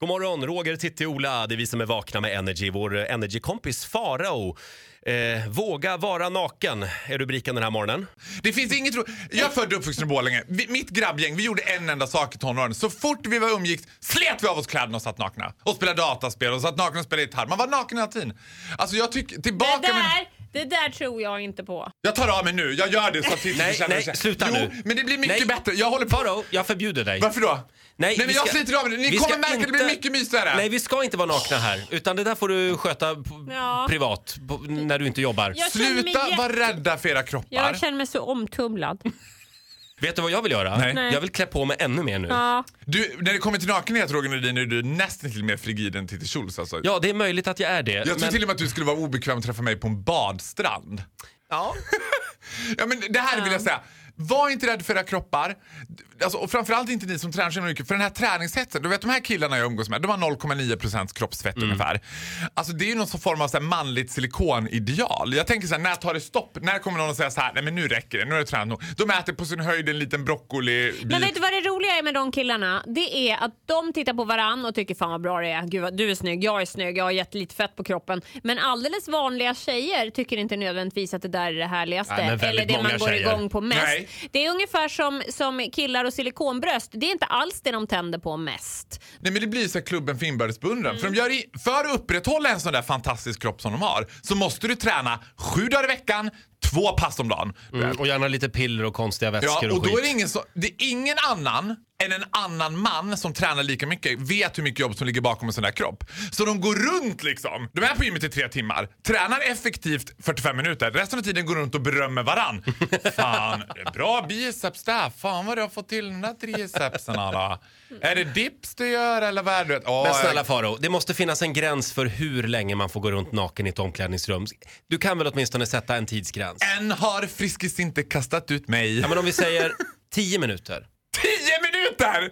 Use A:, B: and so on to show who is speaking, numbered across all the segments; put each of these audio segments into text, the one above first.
A: God morgon, Roger, Titti, Ola. Det är vi som är vakna med Energy. Vår Energy-kompis Farao. Eh, våga vara naken är rubriken den här morgonen.
B: Det finns inget ro- Jag är född och uppvuxen i Borlänge. Vi, mitt grabbgäng, vi gjorde en enda sak i tonåren. Så fort vi var umgicks slet vi av oss kläderna och satt nakna. Och spelade dataspel och satt nakna och spelade gitarr. Man var naken hela tiden. Alltså jag tycker, tillbaka
C: Det
B: med-
C: där, det där tror jag inte på.
B: Jag tar av mig nu, jag gör det så att Titti
A: Nej,
B: känner
A: nej,
B: sig-
A: sluta
B: jo,
A: nu.
B: men det blir mycket
A: Nej.
B: bättre. Jag håller på.
A: Farao, jag förbjuder dig.
B: Varför
C: Alltså,
B: då? Nej, men
A: vi
B: jag
A: ska-
B: sliter av det. Ni
A: vi
B: kommer
A: ska
B: märka, det blir
A: inte-
B: mycket mysigare.
A: Nej, vi ska inte vara nakna här. Utan det där får du sköta p-
C: Ja.
A: privat på, när du inte jobbar.
C: Jag känner mig
B: Sluta
C: jätte-
B: vara rädda för era kroppar.
C: Jag känner mig så omtumlad.
A: Vet du vad jag vill göra?
B: Nej.
C: Nej.
A: Jag vill klä på mig ännu mer nu. Ja.
C: Ja.
B: Du, när det kommer till nakenhet Roger Nordin är du nästan till mer frigid än Titti Schultz alltså.
A: det är möjligt att jag är det.
B: Jag tror till och med att du skulle vara obekväm att träffa mig på en badstrand.
A: ja.
B: Ja, men det här vill jag säga. Var inte rädd för era kroppar. Alltså, och framförallt inte ni som tränar så himla mycket. För den här träningshetsen, du vet de här killarna jag umgås med, de har 0,9% kroppsfett ungefär. Alltså det är ju någon sån form av så här manligt silikonideal. Jag tänker så här, när tar det stopp? När kommer någon att säga så här, nej men nu räcker det, nu har du tränat nog. De äter på sin höjd en liten broccolibit.
C: Men vet du vad det roliga är med de killarna? Det är att de tittar på varann och tycker fan vad bra det är. Gud vad, du är snygg, jag är snygg, jag har jättelite fett på kroppen. Men alldeles vanliga tjejer tycker inte nödvändigtvis att det där är det härligaste.
A: Nej, men väldigt
C: eller det
A: många
C: man går
A: tjejer.
C: igång på mest.
B: Nej.
C: Det är ungefär som, som killar och silikonbröst. Det är inte alls det de tänder på mest.
B: Nej men det blir så här klubben för inbördes
C: Mm.
B: beundran. För, de gör i, för att upprätthålla en sån där fantastisk kropp som de har så måste du träna sju dagar i veckan, två pass om dagen.
A: Mm, och gärna lite piller och konstiga
B: Ja,
A: vätskor
B: och
A: och
B: då är det,
A: skit.
B: ingen så, det är ingen annan än en annan man som tränar lika mycket vet hur mycket jobb som ligger bakom en sån där kropp. Så de går runt liksom. De är på gymmet i tre timmar, tränar effektivt 45 minuter. Resten av tiden går de runt och berömmer varann. Fan, bra biceps där. Fan vad du har fått till den där tricepsen då. Är det dips du gör eller vad är det? Oh,
A: Men snälla Faro, det måste finnas en gräns för hur länge man får gå runt naken i ett omklädningsrum. Du kan väl åtminstone sätta en tidsgräns?
B: Än har Friskis inte kastat ut mig.
A: Ja, men om vi säger 10 minuter.
B: 10 minuter!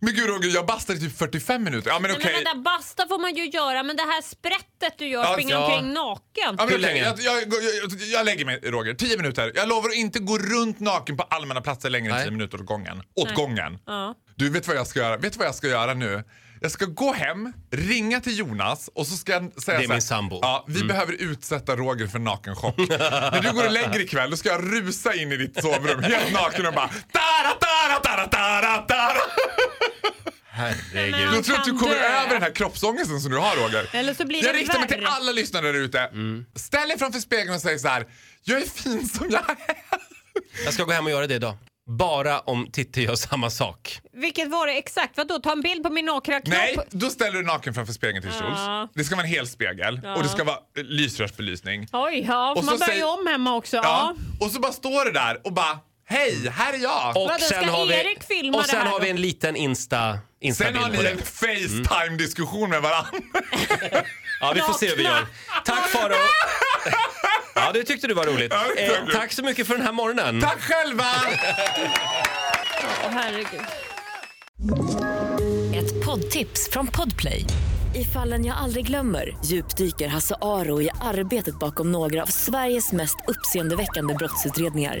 B: Men gud Roger, jag bastade i typ 45 minuter. Ja men okej. Alltså,
C: Nej, men vänta, basta får man ju göra men det här sprättet du gör,
B: Ja,
C: springer
A: ja.
C: omkring naken.
B: Ja, men
A: Hur
B: okej,
A: länge?
B: jag, jag, jag, jag, jag lägger mig, Roger. Tio minuter. Jag lovar att inte gå runt naken på allmänna platser längre än
A: Nej.
B: tio minuter åt gången. Åt
C: Nej.
B: gången.
C: Ja.
B: Du, vet vad jag ska göra? Vet du vad jag ska göra nu? Jag ska gå hem, ringa till Jonas och så ska jag säga
A: Det är
B: så här,
A: min sambo. Mm.
B: Ja, vi behöver utsätta Roger för nakenchock. När du går och lägger dig ikväll då ska jag rusa in i ditt sovrum helt naken och bara tara, tara, tara, tara, tara.
A: Herregud.
C: Men-
B: Jag tror att du
C: Kan
B: kommer
C: dö.
B: över den här kroppsångesten som du har Roger.
C: Eller så blir
B: jag
C: det
B: riktar mig till
C: värre.
B: alla lyssnare där ute.
A: Mm.
B: Ställ dig framför spegeln och säg så här. Jag är fin som jag är.
A: Jag ska gå hem och göra det idag. Bara om Titti gör samma sak.
C: Vilket var det exakt? Vadå, ta en bild på min nakna kropp?
B: Nej, då ställer du dig naken framför spegeln till Schultz.
C: Ja.
B: Det ska vara en hel spegel och det ska vara eh, lysrörsbelysning.
C: Oj, ja,
B: Och
C: för man
B: så
C: börjar ju
B: säger-
C: om hemma också.
B: Ja.
C: Ja.
B: Och så bara står du där och bara Hej, här är jag.
A: Och
C: Vadå, ska Erik filma
A: och
C: det
A: sen
C: här
A: har vi
C: då?
A: en liten Insta,
B: Sen
A: Insta-bild
B: har
A: på
B: ni
A: det. Mm.
B: en Facetime-diskussion med varandra.
A: Ja, vi får se hur vi gör. Tack Faro. Ja, det tyckte du var roligt.
B: Ja, det tyckte
A: Eh,
B: jag.
A: tack så mycket för den här morgonen.
B: Tack själva!
C: Åh, herregud.
D: Ett poddtips från Podplay. I fallen jag aldrig glömmer djupdyker Hasse Aro i arbetet bakom några av Sveriges mest uppseendeväckande brottsutredningar.